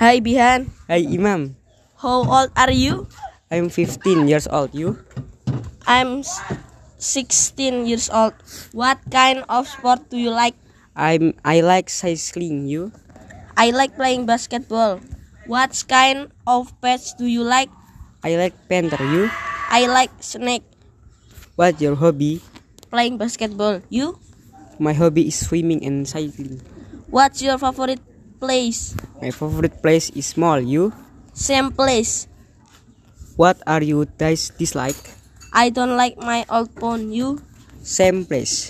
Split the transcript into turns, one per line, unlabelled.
Hi Bihan,
Hi Imam,
how old are you?
I'm 15 years old. You?
I'm s- 16 years old. What kind of sport do you like?
I'm I like cycling. You?
I like playing basketball. What kind of pets do you like?
I like painter. You?
I like snake.
What's your hobby?
Playing basketball. You?
My hobby is swimming and cycling.
What's your favorite place?
My favorite place is mall. You?
Same place.
What are you guys dislike?
I don't like my old phone. You?
Same place.